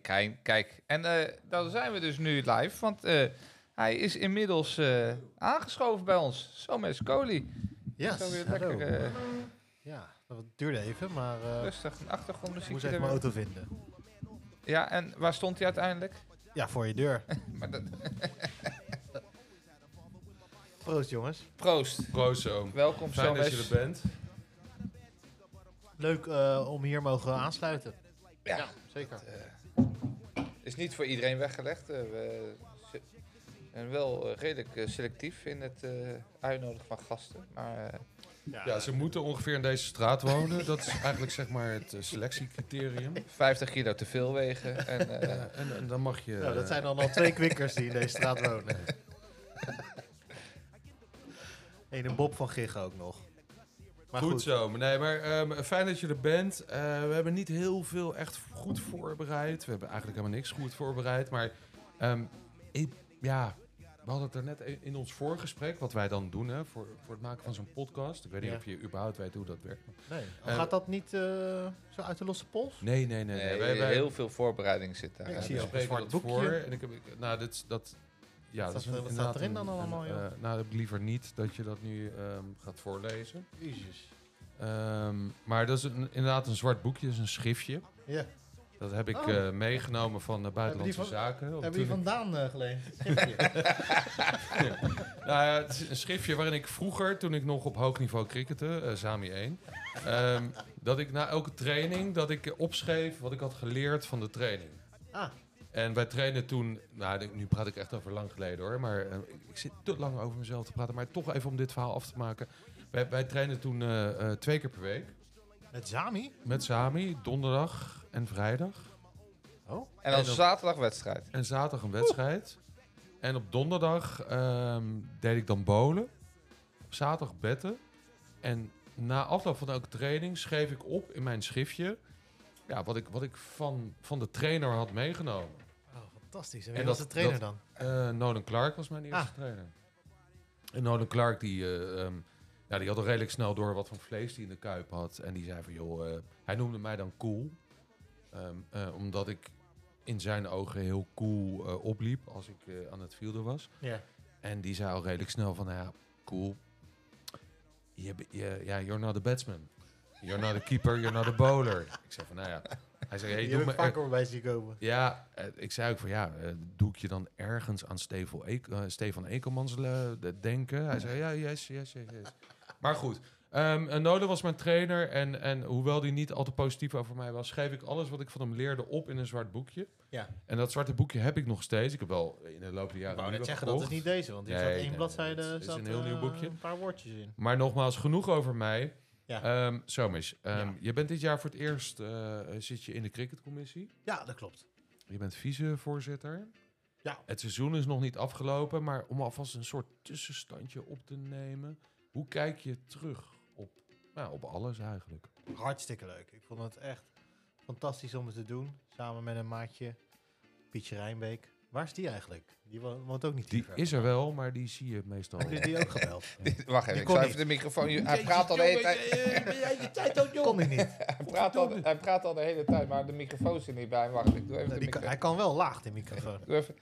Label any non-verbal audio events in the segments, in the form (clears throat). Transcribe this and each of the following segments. Kijk, kijk. en eh dan zijn we dus nu live, want eh, hij is inmiddels eh, aangeschoven bij ons. Zo met Scoli. Yes, Zo weer hallo. lekker eh, Ja, dat duurde even, maar eh, rustig een ik achtergrondmuziekje moest even er mijn weer. auto vinden. Ja, en waar stond hij uiteindelijk? Ja, voor je (laughs) deur. Maar dat, Proost jongens. proost. Proost oom. Welkom Fijn zo dat je er met bent. Leuk eh, om hier mogen aansluiten. Ja. zeker. Is niet voor iedereen weggelegd. eh, we se- zijn wel eh, redelijk eh, selectief in het eh, uitnodigen van gasten. Maar eh, Ja, ze moeten ongeveer in deze straat wonen. Dat is eigenlijk zeg maar het eh, selectiecriterium. 50 kilo te veel wegen. En, (laughs) eh, Ja, en, en dan mag je... Nou, dat zijn dan al twee kwikkers die in deze straat wonen. (laughs) En een Bob van Gig ook nog. Maar eh, goed, goed, zo. Nee, maar ehm, fijn dat je er bent. Eh, we hebben niet heel veel echt goed voorbereid. We hebben eigenlijk helemaal niks goed voorbereid. Maar ehm, ik- ja, we hadden het er net in- in ons voorgesprek, wat wij dan doen hè, voor, voor het maken van zo'n podcast. Ik weet niet Ja. of je überhaupt weet hoe dat werkt. nee. Eh, gaat dat niet eh, zo uit de losse pols? Nee, nee, nee. nee, nee. Wij- wij- heel veel voorbereiding zit daar. dus Dus- Ik Ja, zie ook we een spreken zwart dat boekje. voor. En ik heb, ik- nou, dit, is- dat, ja, Wat dat is staat- wat inderdaad staat erin dan een- allemaal, een, joh? eh, nou, heb ik liever niet dat je dat nu ehm, gaat voorlezen. Jezus. Ehm, maar dat is een- inderdaad een zwart boekje, dat is een schriftje. Ja, Dat heb ik Oh. eh, meegenomen van de Buitenlandse van- Zaken. want hebben die toen ik- vandaan eh, geleend? (laughs) Nou ja, het is een schriftje waarin ik vroeger, toen ik nog op hoog niveau crickette, eh Sami 1, ehm, dat ik na elke training dat ik eh, opschreef wat ik had geleerd van de training. Ah, En wij trainen toen, nou ik- nu praat ik echt over lang geleden hoor, maar eh, ik, ik zit te lang over mezelf te praten, maar toch even om dit verhaal af te maken. Wij, wij trainen toen eh, eh, twee keer per week met Zami? met Sami, donderdag en vrijdag. Oh, En dan En op- zaterdag wedstrijd. En zaterdag een wedstrijd. En op donderdag ehm, deed ik dan bowlen. Op zaterdag betten. En na afloop van elke training schreef ik op in mijn schriftje ja, wat ik, wat ik van, van de trainer had meegenomen. oh fantastisch. En En wie was de dat- trainer dat- dan? Eh, Nolan Clark was mijn eerste Ah. trainer. En Nolan Clark die, eh, ehm, ja, die had al redelijk snel door wat voor vlees die in de kuip had. En die zei van joh, eh, hij noemde mij dan cool. Ehm, eh, omdat ik in zijn ogen heel cool eh, opliep als ik eh, aan het fielden was. Ja. En die zei al redelijk snel van nou ja, cool. Je, be- je, ja, you're not a batsman. You're not a keeper, you're not a bowler. Ik zei van nou ja. Hij zei, hey, Die doe heb me, ik vaker voorbij zien komen. ja, eh, ik zei ook van ja, eh, doe ik je dan ergens aan Stevel Eek- eh, Stefan Ekelmans eh, de- denken? Hij zei ja, yes, yes, yes. yes. maar goed, Ehm eh, Nolan was mijn trainer en, en hoewel die niet al te positief over mij was, schreef ik alles wat ik van hem leerde op in een zwart boekje. Ja. En dat zwarte boekje heb ik nog steeds. Ik heb wel in de loop der jaren. Ik wou nieuwe net zeggen, dat is gekocht. niet deze, want hier Nee, zat één nee, bladzijde, het is zat, een heel eh, nieuw boekje. een paar woordjes in. Maar nogmaals, genoeg over mij. Ja. Ja. Somis, ehm, Ja. je bent dit jaar voor het eerst eh, zit je in de cricketcommissie. Ja, dat klopt. Je bent vicevoorzitter. Ja. Het seizoen is nog niet afgelopen, maar om alvast een soort tussenstandje op te nemen. Hoe kijk je terug op, nou, op alles eigenlijk? Hartstikke leuk. Ik vond het echt fantastisch om het te doen, samen met een maatje, Pietje Rijnbeek. Waar is die eigenlijk? Die wo- woont ook niet Die hier. is er wel, maar die zie je meestal. Heb je (laughs) die ook gebeld? (laughs) Wacht even, Die ik kon zal niet. even de microfoon... Hij praat al de hele tijd... Kon hij niet. Hij praat, al, hij praat al de hele tijd, maar de microfoon zit niet bij. Wacht, ik doe even de Nee, die kan- microfoon. hij kan wel laag, de microfoon. Doe even-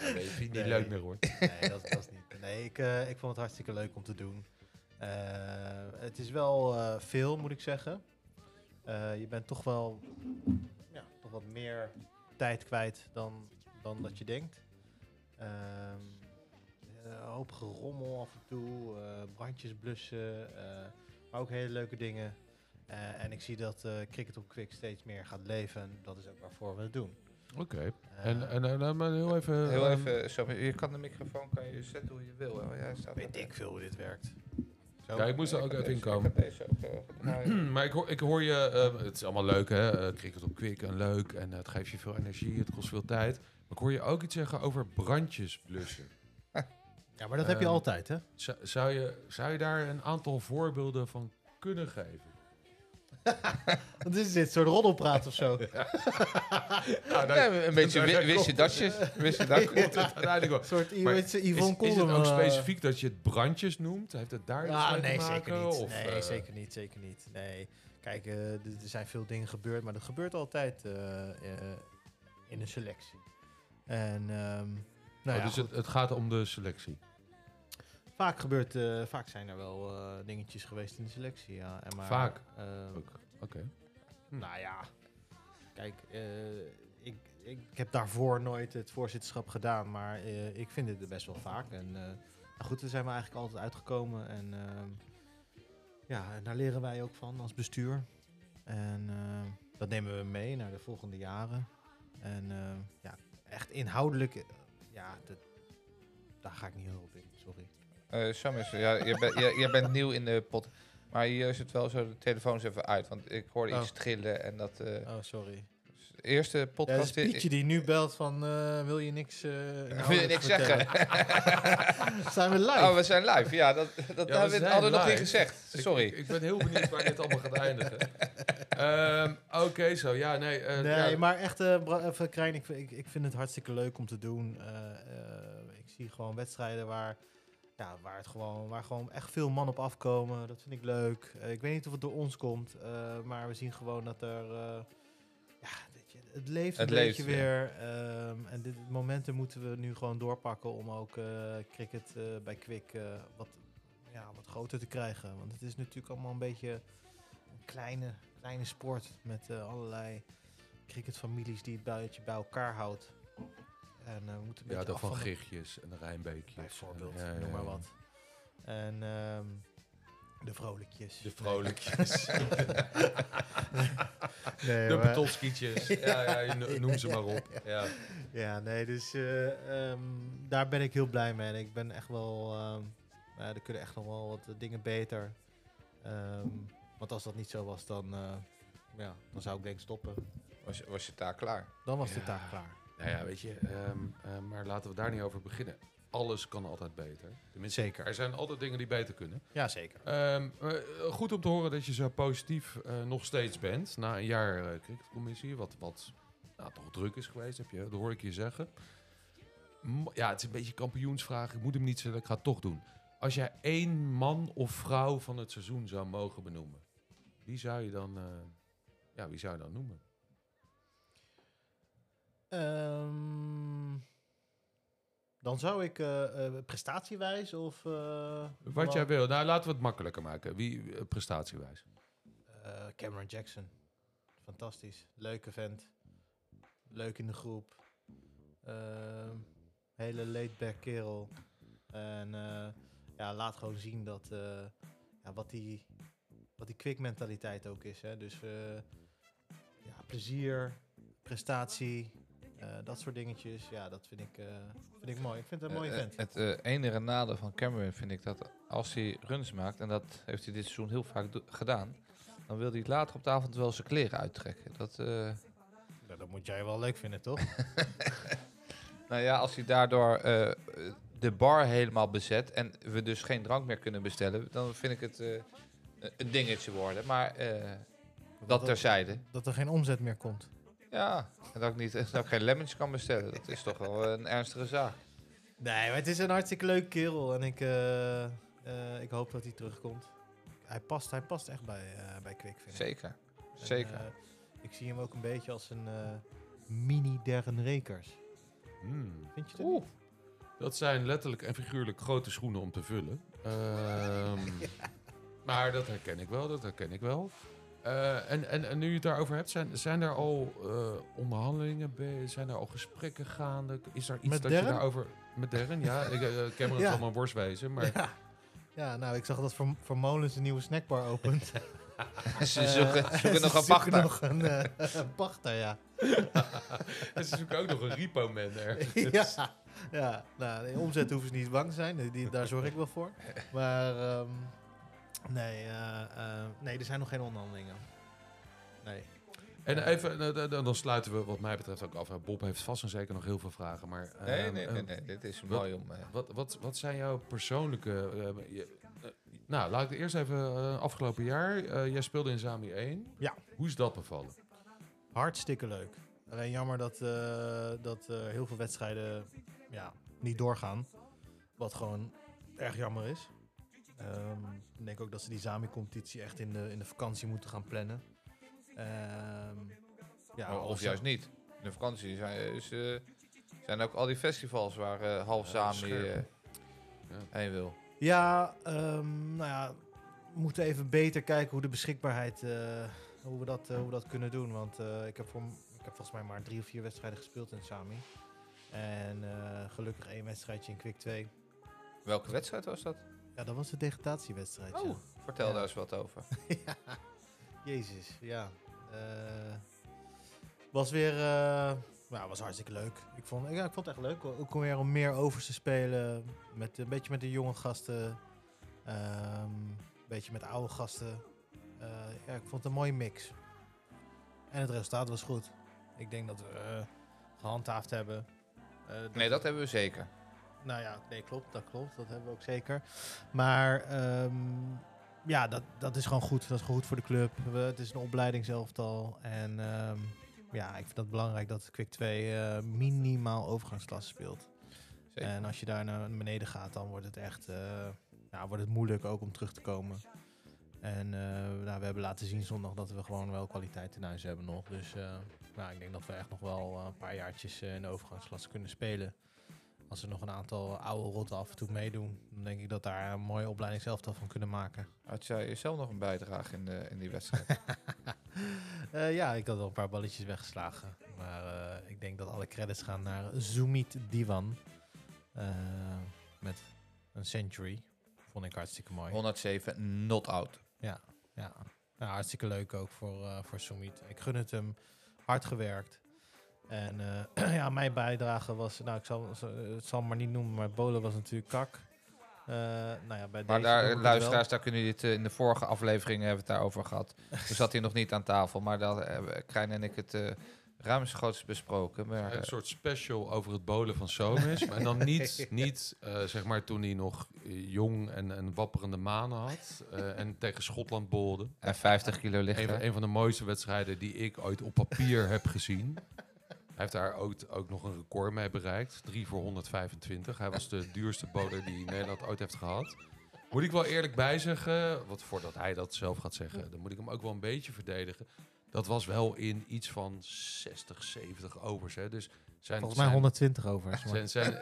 Nee, ik vind Nee. niet leuk meer hoor. Nee, dat, dat is niet. Nee, ik, eh, ik vond het hartstikke leuk om te doen. Eh, het is wel eh, veel, moet ik zeggen. Eh, je bent toch wel ja, toch wat meer tijd kwijt dan, dan dat je denkt. Ehm, een hoop gerommel af en toe, eh, brandjes blussen, eh, maar ook hele leuke dingen. Eh, en ik zie dat eh, cricket op Quick steeds meer gaat leven. en Dat is ook waarvoor we het doen. Oké. Eh, En, en, en, eh, maar heel even. Heel ehm, (clears throat) even, zo, je kan de microfoon kan je zetten hoe je wil. hè, want jij staat weet ik veel hoe dit werkt. Zo. Ja, ik moest er ook kan even deze- inkomen. ik kan deze ook, eh, (clears throat) draaien. Maar ik hoor, ik hoor je, ehm, het is allemaal leuk hè, Eh, cricket op kwik en leuk en eh, het geeft je veel energie, het kost veel tijd. Maar ik hoor je ook iets zeggen over brandjes blussen. Ja, maar dat heb je Ehm, altijd, hè? Zou, zou, je, zou je daar een aantal voorbeelden van kunnen geven? Wat is dit? Soort roddelpraat of (laughs) zo? Nee, een beetje Nou, daar wi- wist je komt dat (laughs) je... Wist je dat (laughs) komt het uiteindelijk wel. Een soort I- Maar weet je, Is, Yvonne is het Kolderman. ook eh, specifiek dat je het brandjes noemt? Heeft het daar iets Ah, mee nee, te maken? zeker niet. Of, nee, eh, zeker niet, zeker niet. Nee. Kijk, eh, d- er zijn veel dingen gebeurd, maar dat gebeurt altijd eh, eh, in een selectie. En, ehm, nou Oh, ja, dus het, goed. het gaat om de selectie. vaak, gebeurt, eh, vaak zijn er wel eh, dingetjes geweest in de selectie. Ja. En maar, Vaak? ehm, Ook. Oké. Nou ja, kijk, eh, ik, ik, ik heb daarvoor nooit het voorzitterschap gedaan, maar eh, ik vind het er best wel vaak. En eh, nou goed, daar zijn we eigenlijk altijd uitgekomen. En ehm, ja, en daar leren wij ook van als bestuur. En eh, dat nemen we mee naar de volgende jaren. En eh, ja, echt inhoudelijk, eh, ja, dat, daar ga ik niet heel op in, sorry. Eh, Sam is, ja, je, bent- je, je bent nieuw in de pot. Maar hier is het wel zo, de telefoon is even uit. Want ik hoorde Oh. iets trillen en dat... eh, Oh, sorry. de eerste Ja, dat is podcast... Pietje die nu belt van, eh, wil je niks eh wil je inhoudelijk niks vertellen? zeggen? (laughs) Zijn we live? Oh, we zijn live. Ja, dat, (laughs) dat we hebben we zijn hadden we nog niet live. gezegd. Sorry. Ik, ik ben heel benieuwd waar dit allemaal gaat eindigen. (laughs) Ehm, Oké, zo. Ja, nee. eh, Nee, ja, maar echt, eh, Bra- even Krijn, ik, vind- ik, ik vind het hartstikke leuk om te doen. Eh, eh, ik zie gewoon wedstrijden waar, ja, waar, het gewoon, waar gewoon echt veel man op afkomen. Dat vind ik leuk. Eh, ik weet niet of het door ons komt, eh, maar we zien gewoon dat er... eh, ja, dat je- het leeft een Het beetje leeft, ja. weer. ehm, en dit momenten moeten we nu gewoon doorpakken om ook eh, cricket eh, bij Kwik eh, wat, ja, wat groter te krijgen. Want het is natuurlijk allemaal een beetje een kleine, kleine sport met eh, allerlei cricketfamilies die het buitje bij elkaar houdt. En eh, we moeten een ja, beetje dan af van de- Gichtjes en eh, de Rijnbeekjes. Bijvoorbeeld, En, ja, ja, noem maar ja. wat. En ehm, de vrolijkjes. De (laughs) vrolijkjes. Nee, de maar- betolskietjes. ja, ja, je (laughs) no- noem ze maar op. Ja. Ja, nee, dus eh, ehm, daar ben ik heel blij mee. En ik ben echt wel. ehm, nou ja, er kunnen echt nog wel wat eh, dingen beter. Ehm, want als dat niet zo was, dan, eh, ja, dan zou ik denk ik stoppen. Was, was je taak klaar? Dan was de Ja. taak klaar. Nou ja, weet je, ehm, eh, maar laten we daar niet over beginnen. Alles kan altijd beter. Tenminste, Zeker. er zijn altijd dingen die beter kunnen. Ja, zeker. Ehm, eh, goed om te horen dat je zo positief eh, nog steeds bent. Na een jaar eh cricketcommissie, wat, wat nou, toch druk is geweest, heb je, dat hoor ik je zeggen. Mo- Ja, het is een beetje een kampioensvraag. Ik moet hem niet zeggen, ik ga het toch doen. Als jij één man of vrouw van het seizoen zou mogen benoemen, wie zou je dan, eh, ja, wie zou je dan noemen? Ehm, dan zou ik eh, eh, prestatiewijs of. eh, Wat wel- jij wil. Nou, laten we het makkelijker maken. Wie, eh, prestatiewijs. Eh, Cameron Jackson. Fantastisch. Leuke vent. Leuk in de groep. Ehm, hele laid-back kerel. En eh, ja, laat gewoon zien dat, eh, ja, wat die, wat die quick mentaliteit ook is. Hè. Dus eh, ja, plezier, prestatie, eh, dat soort dingetjes. Ja, dat vind ik, eh, vind ik mooi. Ik vind het een mooie Eh, eh, vent. Het eh, enige nadeel van Cameron vind ik dat als hij runs maakt, en dat heeft hij dit seizoen heel vaak do- gedaan, dan wil hij later op de avond wel zijn kleren uittrekken. Dat, eh, Ja, nou, dat moet jij wel leuk vinden, toch? (laughs) nou ja, als hij daardoor eh, eh, de bar helemaal bezet en we dus geen drank meer kunnen bestellen, dan vind ik het eh, een- een dingetje worden. Maar eh, dat terzijde. dat er geen omzet meer komt. Ja, en dat ik, niet, (laughs) dat ik geen lemmetjes kan bestellen, dat is toch wel een ernstige zaak. Nee, maar het is een hartstikke leuke kerel. En ik, eh, eh, ik hoop dat hij terugkomt. Hij past, hij past echt bij, eh bij Kwik, vind ik. Zeker, (laughs) En, zeker. eh, ik zie hem ook een beetje als een eh, mini Darren Rekers. Hmm. Vind je dat? Oeh. niet? Dat zijn letterlijk en figuurlijk grote schoenen om te (laughs) vullen. Ehm, Maar dat herken ik wel, dat herken ik wel. Eh, en, en, en nu je het daarover hebt, zijn, zijn er al eh, onderhandelingen, be- zijn er al gesprekken gaande? Is er iets Met dat je Darren? daarover... Met Darren, ja. Ik, eh, Cameron Ja. zal mijn worst wezen, maar... Ja. ja, nou, ik zag dat Ver- Vermolens een nieuwe snackbar opent. (laughs) Ze zoeken, Eh, zoeken nog (laughs) ze een zoeken pachter. nog een eh, (laughs) een pachter, (laughs) ja. en (laughs) ze zoeken ook nog een repo-man ergens. (laughs) ja. Ja, nou, de omzet hoeven ze niet bang te zijn. Die- Die, daar zorg ik wel (laughs) voor. Maar ehm, nee, eh, eh, nee, er zijn nog geen onderhandelingen. Nee. En even, eh, dan- dan dan sluiten we wat mij betreft ook af. Bob heeft vast en zeker nog heel veel vragen, maar... Nee, ehm, nee, ehm, nee, nee, dit is wat- mooi om... eh, Wat, wat, wat zijn jouw persoonlijke... eh, je- eh, nou, laat ik eerst even... eh, afgelopen jaar, eh, jij speelde in Zami 1. Ja. Hoe is dat bevallen? Hartstikke leuk. Alleen jammer dat, eh, dat eh, heel veel wedstrijden ja, niet doorgaan. Wat gewoon erg jammer is. Ehm, ik denk ook dat ze die Zami-competitie echt in de, in de vakantie moeten gaan plannen. Ehm, ja, Oh, of, als- juist niet. In de vakantie zijn, is, eh, zijn ook al die festivals waar eh, half Ja, Sami scherp. eh, Ja. heen wil. Ja, ehm, nou ja, we moeten even beter kijken hoe de beschikbaarheid, eh, hoe, we dat, eh, hoe we dat kunnen doen. Want eh, ik, heb voor, ik heb volgens mij maar drie of vier wedstrijden gespeeld in Sami. En eh, gelukkig één wedstrijdje in Quick 2. Welke wedstrijd was dat? Ja, dat was de degradatiewedstrijd. ja. Oh, vertel Ja. daar eens wat over. ja. Jezus, ja. Eh, was weer... eh, ja, was hartstikke leuk. Ik vond, ja, ik vond het echt leuk. Ook om weer om meer overs te spelen. Met, een beetje met de jonge gasten. ehm, een beetje met oude gasten. Eh, ja, ik vond het een mooie mix. En het resultaat was goed. Ik denk dat we eh, gehandhaafd hebben. Eh, Nee, dat hebben we zeker. nou ja, nee, klopt, dat klopt. Dat hebben we ook zeker. Maar ehm, ja, dat, dat is gewoon goed. Dat is gewoon goed voor de club. We, het is een opleidingselftal. En ehm, ja, ik vind dat belangrijk dat Quick 2 eh, minimaal overgangsklasse speelt. Zeker. En als je daar naar beneden gaat, dan wordt het echt eh, ja, wordt het moeilijk ook om terug te komen. En eh, nou, we hebben laten zien zondag dat we gewoon wel kwaliteit in huis hebben nog. Dus eh, nou, ik denk dat we echt nog wel eh, een paar jaartjes eh, in de overgangsklasse kunnen spelen. Als er nog een aantal oude rotten af en toe meedoen, dan denk ik dat daar een mooie opleiding zelf van kunnen maken. Had jij zelf nog een bijdrage in, de, in die wedstrijd? (laughs) (laughs) Eh, ja, ik had wel een paar balletjes weggeslagen. Maar eh, ik denk dat alle credits gaan naar Zumit Diwan. Eh, met een century. Vond ik hartstikke mooi. 107, not out. Ja, ja. Nou, hartstikke leuk ook voor, eh voor Sumit. Ik gun het hem. Hard gewerkt. En eh, (clears throat) ja, mijn bijdrage was... Nou, ik zal, z- eh, het zal maar niet noemen, maar Bolen was natuurlijk kak. Eh, nou ja, bij Maar deze noem ik daar, het luisteraars, daar kunnen jullie het eh, in de vorige afleveringen hebben we het daarover (laughs) gehad. Toen zat hij nog niet aan tafel, maar daar hebben Krijn en ik het eh ruimschoots besproken. Maar, eh, Een soort special over het bolen van Somis. maar dan niet, niet eh, zeg maar toen hij nog eh, jong en, en wapperende manen had. eh, en tegen Schotland bolde. en 50 kilo Een van, lichter. een van de mooiste wedstrijden die ik ooit op papier heb gezien. Hij heeft daar ook, ook nog een record mee bereikt. 3 voor 125. Hij was de duurste boler die Nederland ooit heeft gehad. Moet ik wel eerlijk bij zeggen, want voordat hij dat zelf gaat zeggen, dan moet ik hem ook wel een beetje verdedigen. Dat was wel in iets van 60, 70 overs. Hè. Dus zijn, Volgens mij zijn- 120 over. maar- zijn, zijn,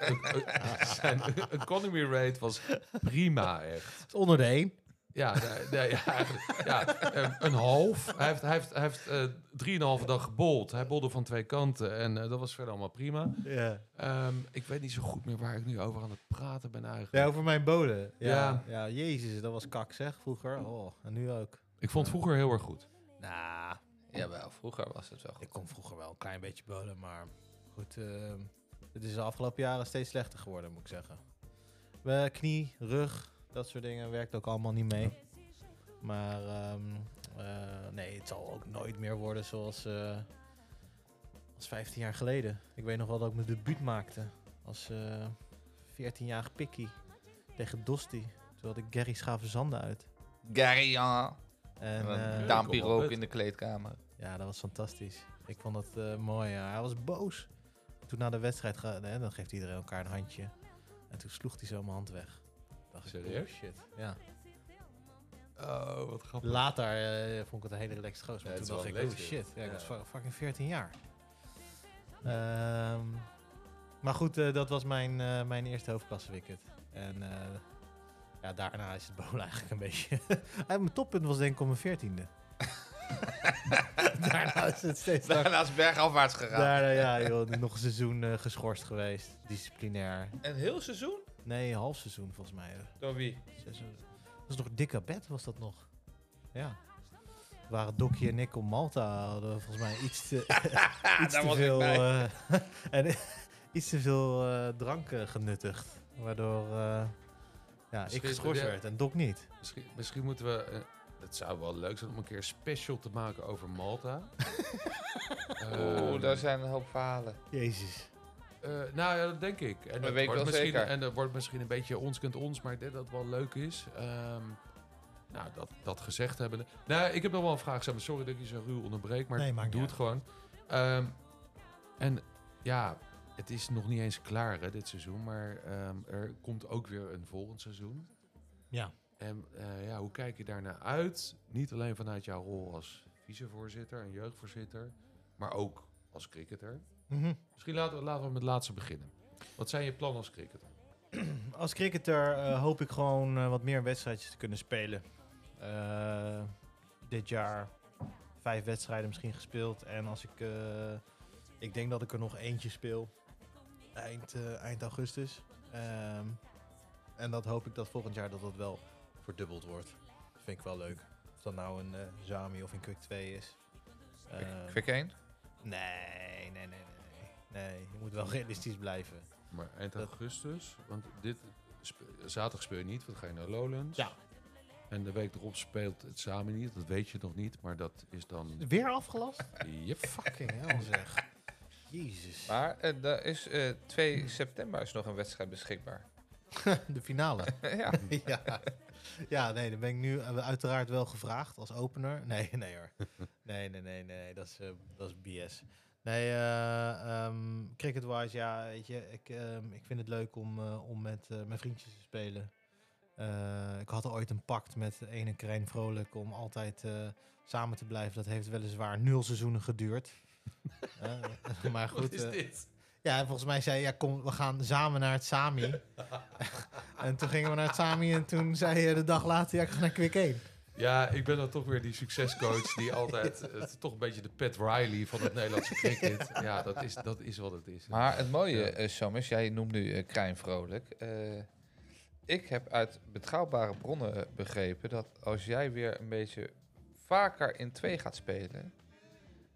(laughs) zijn economy rate was prima echt. Het is onder de 1. Ja, nee, nee, ja, eigenlijk, ja eh, een half. Hij heeft, hij heeft, hij heeft eh, drieënhalve dag gebold. Hij bolde van twee kanten en eh, dat was verder allemaal prima. Ja. Ehm, ik weet niet zo goed meer waar ik nu over aan het praten ben eigenlijk. Ja, over mijn bolen. Ja. Ja. ja. jezus, dat was kak zeg, vroeger. Oh, en nu ook. Ik vond het vroeger heel erg goed. Nou, Jawel, vroeger was het wel goed. ik kon vroeger wel een klein beetje bolen, maar goed. ehm, het is de afgelopen jaren steeds slechter geworden, moet ik zeggen. Eh, knie, rug, dat soort dingen werkt ook allemaal niet mee. Maar ehm, eh, nee, het zal ook nooit meer worden zoals eh, als 15 jaar geleden. Ik weet nog wel dat ik mijn debuut maakte als eh 14-jarig pikkie tegen Dosti. Toen had ik Gary Schavenzande uit. Gary, ja. En, En, eh, Daan- Daampie kom op, rook het. in de kleedkamer. (laughs) ja, dat was fantastisch. Ik vond dat eh, mooi. ja. Hij was boos. Toen na de wedstrijd, ga, hè, dan geeft iedereen elkaar een handje. En toen sloeg hij zo mijn hand weg. Dacht ik, Serieus? oh, shit. Ja. Oh, wat grappig. Later eh, vond ik het een hele relaxed goos. Maar Ja, het toen is dacht ik, wel een oh leeftijd. shit. Ja, Ik Ja. was fu- fucking 14 jaar. Ehm, maar goed, eh, dat was mijn, eh, mijn eerste hoofdklasse wicket. En eh, ja, daarna is het bowl (laughs) eigenlijk een beetje... Ah, mijn toppunt was denk ik om mijn 14e. (laughs) daarna is het steeds langer. Daarnaast bergafwaarts gegaan. Daarna, eh, ja, joh, (laughs) nog een seizoen eh, geschorst geweest. Disciplinair. Een heel seizoen? Nee, een half seizoen volgens mij. eh. Door wie? Zes- Dat is nog dikke bed, was dat nog? Ja. Waren Dokkie en ik op Malta hadden we volgens mij (laughs) iets te, (laughs) iets Daar te was ik veel, bij. eh, (laughs) en, iets te veel eh, drank eh, genuttigd. Waardoor eh, ja, ik Misschien- geschorst ja. werd en Dok niet. Misschien, misschien moeten we... eh, dat zou wel leuk zijn om een keer special te maken over Malta. (laughs) Oeh, Ehm, daar zijn een hoop verhalen. Jezus. Eh, nou ja, dat denk ik. En weet ik wordt wel misschien- zeker. En dat wordt misschien een beetje ons kent ons, maar ik denk dat het wel leuk is. Ehm, nou, dat, dat gezegd hebben. Nou, ik heb nog wel een vraag, Sam. Sorry dat ik je zo ruw onderbreek, maar Nee, maakt doe niet het gewoon. Ehm, en ja, het is nog niet eens klaar hè, dit seizoen, maar ehm, er komt ook weer een volgend seizoen. Ja. En eh, ja, hoe kijk je daarnaar uit? Niet alleen vanuit jouw rol als vicevoorzitter en jeugdvoorzitter, maar ook als cricketer. Mhm. Misschien laten we, laten we met het laatste beginnen. Wat zijn je plannen als cricketer? Als cricketer eh, hoop ik gewoon eh, wat meer wedstrijdjes te kunnen spelen. Eh, dit jaar vijf wedstrijden misschien gespeeld. En als ik... eh, ik denk dat ik er nog eentje speel. Eind, eh, eind augustus. Ehm, en dat hoop ik dat volgend jaar dat dat wel verdubbeld wordt. Dat vind ik wel leuk. Of dat nou een eh Zami of een Quick 2 is. eh, Ehm, Quick 1? nee, nee, nee, nee. nee. Nee, je moet wel (laughs) realistisch blijven. Maar eind Dat- augustus, want dit spe- zaterdag speel je niet, want dan ga je naar Lowlands. Ja. En de week erop speelt het samen niet, dat weet je nog niet, maar dat is (laughs) dan... Weer afgelast? Yep. Fucking hell zeg. Jezus. Maar eh, daar is, eh 2 september is nog een wedstrijd beschikbaar. (laughs) De finale. (laughs) (laughs) ja. ja. ja, nee, dan ben ik nu eh, uiteraard wel gevraagd als opener. Nee, (laughs) nee hoor. Nee, nee, nee, nee, dat is, eh, dat is BS. Nee, eh, ehm, cricket-wise, ja, weet je, ik, ehm, ik vind het leuk om, eh, om met eh, mijn vriendjes te spelen. Eh, ik had ooit een pact met de ene Krijn Vrolijk om altijd eh, samen te blijven. Dat heeft weliswaar nul seizoenen geduurd. Eh, (laughs) maar goed, eh, dit? ja, en volgens mij zei hij, ja, kom, we gaan samen naar het (laughs) Sami. en toen gingen we naar het Sami en toen zei je de dag later, ja, ik ga naar Quick 1. Ja, ik ben dan toch weer die succescoach die altijd... Het, toch een beetje de Pat Riley van het Nederlandse (laughs) cricket. Ja, dat is, dat is wat het is. Maar het mooie, Ja. eh Sam, is, jij noemt nu eh Krijn Vrolijk. Eh, ik heb uit betrouwbare bronnen eh, begrepen dat als jij weer een beetje vaker in 2 gaat spelen,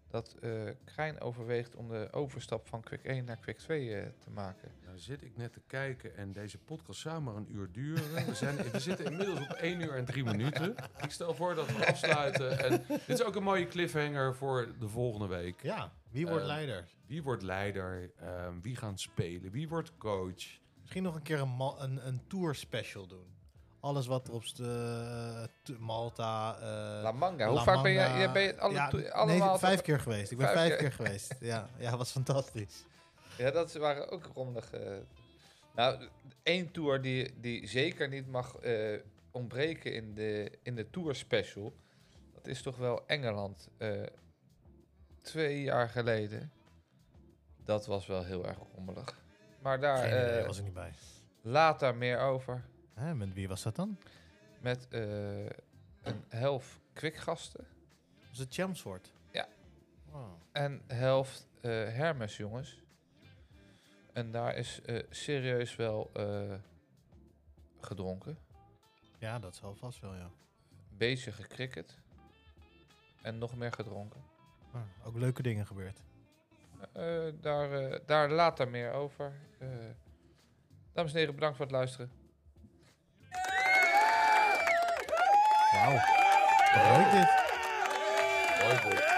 dat eh Krijn overweegt om de overstap van Quick 1 naar Quick 2 eh, te maken. Nou zit ik net te kijken en deze podcast zou maar een uur duren. We, zijn, we zitten inmiddels op 1 uur en 3 minuten. Ik stel voor dat we afsluiten. En dit is ook een mooie cliffhanger voor de volgende week. Ja, wie wordt Eh, leider? Wie wordt leider? Ehm, wie gaan spelen? Wie wordt coach? Misschien nog een keer een, ma- een, een tour special doen. Alles wat er op st- eh, t- Malta... eh, La Manga, hoe La vaak ben jij? Manga. jij bent alle, Ja, to- nee, allemaal vijf keer geweest. Ik ben Vijf vijf, keer. keer. (laughs) geweest. Ja, ja, was fantastisch. Ja, dat waren ook rommelige. Nou, één tour die, die zeker niet mag eh, ontbreken in de, in de tour special. Dat is toch wel Engeland. eh, twee jaar geleden. Dat was wel heel erg rommelig. Maar daar Geen idee, eh, was er niet bij. later meer over. Hè, met wie was dat dan? Met eh, een helft kwikgasten Was het Chelmsford? Oh, Ja. Wow. en helft eh, Hermes, jongens. En daar is eh, serieus wel eh, gedronken. Ja, dat zal vast wel, ja. beetje gecricket. En nog meer gedronken. Maar Ah, ook leuke dingen gebeurd. Eh, daar, eh, daar later meer over. Eh, dames en heren, bedankt voor het luisteren. Wauw. Leuk dit. Hoi, Bob.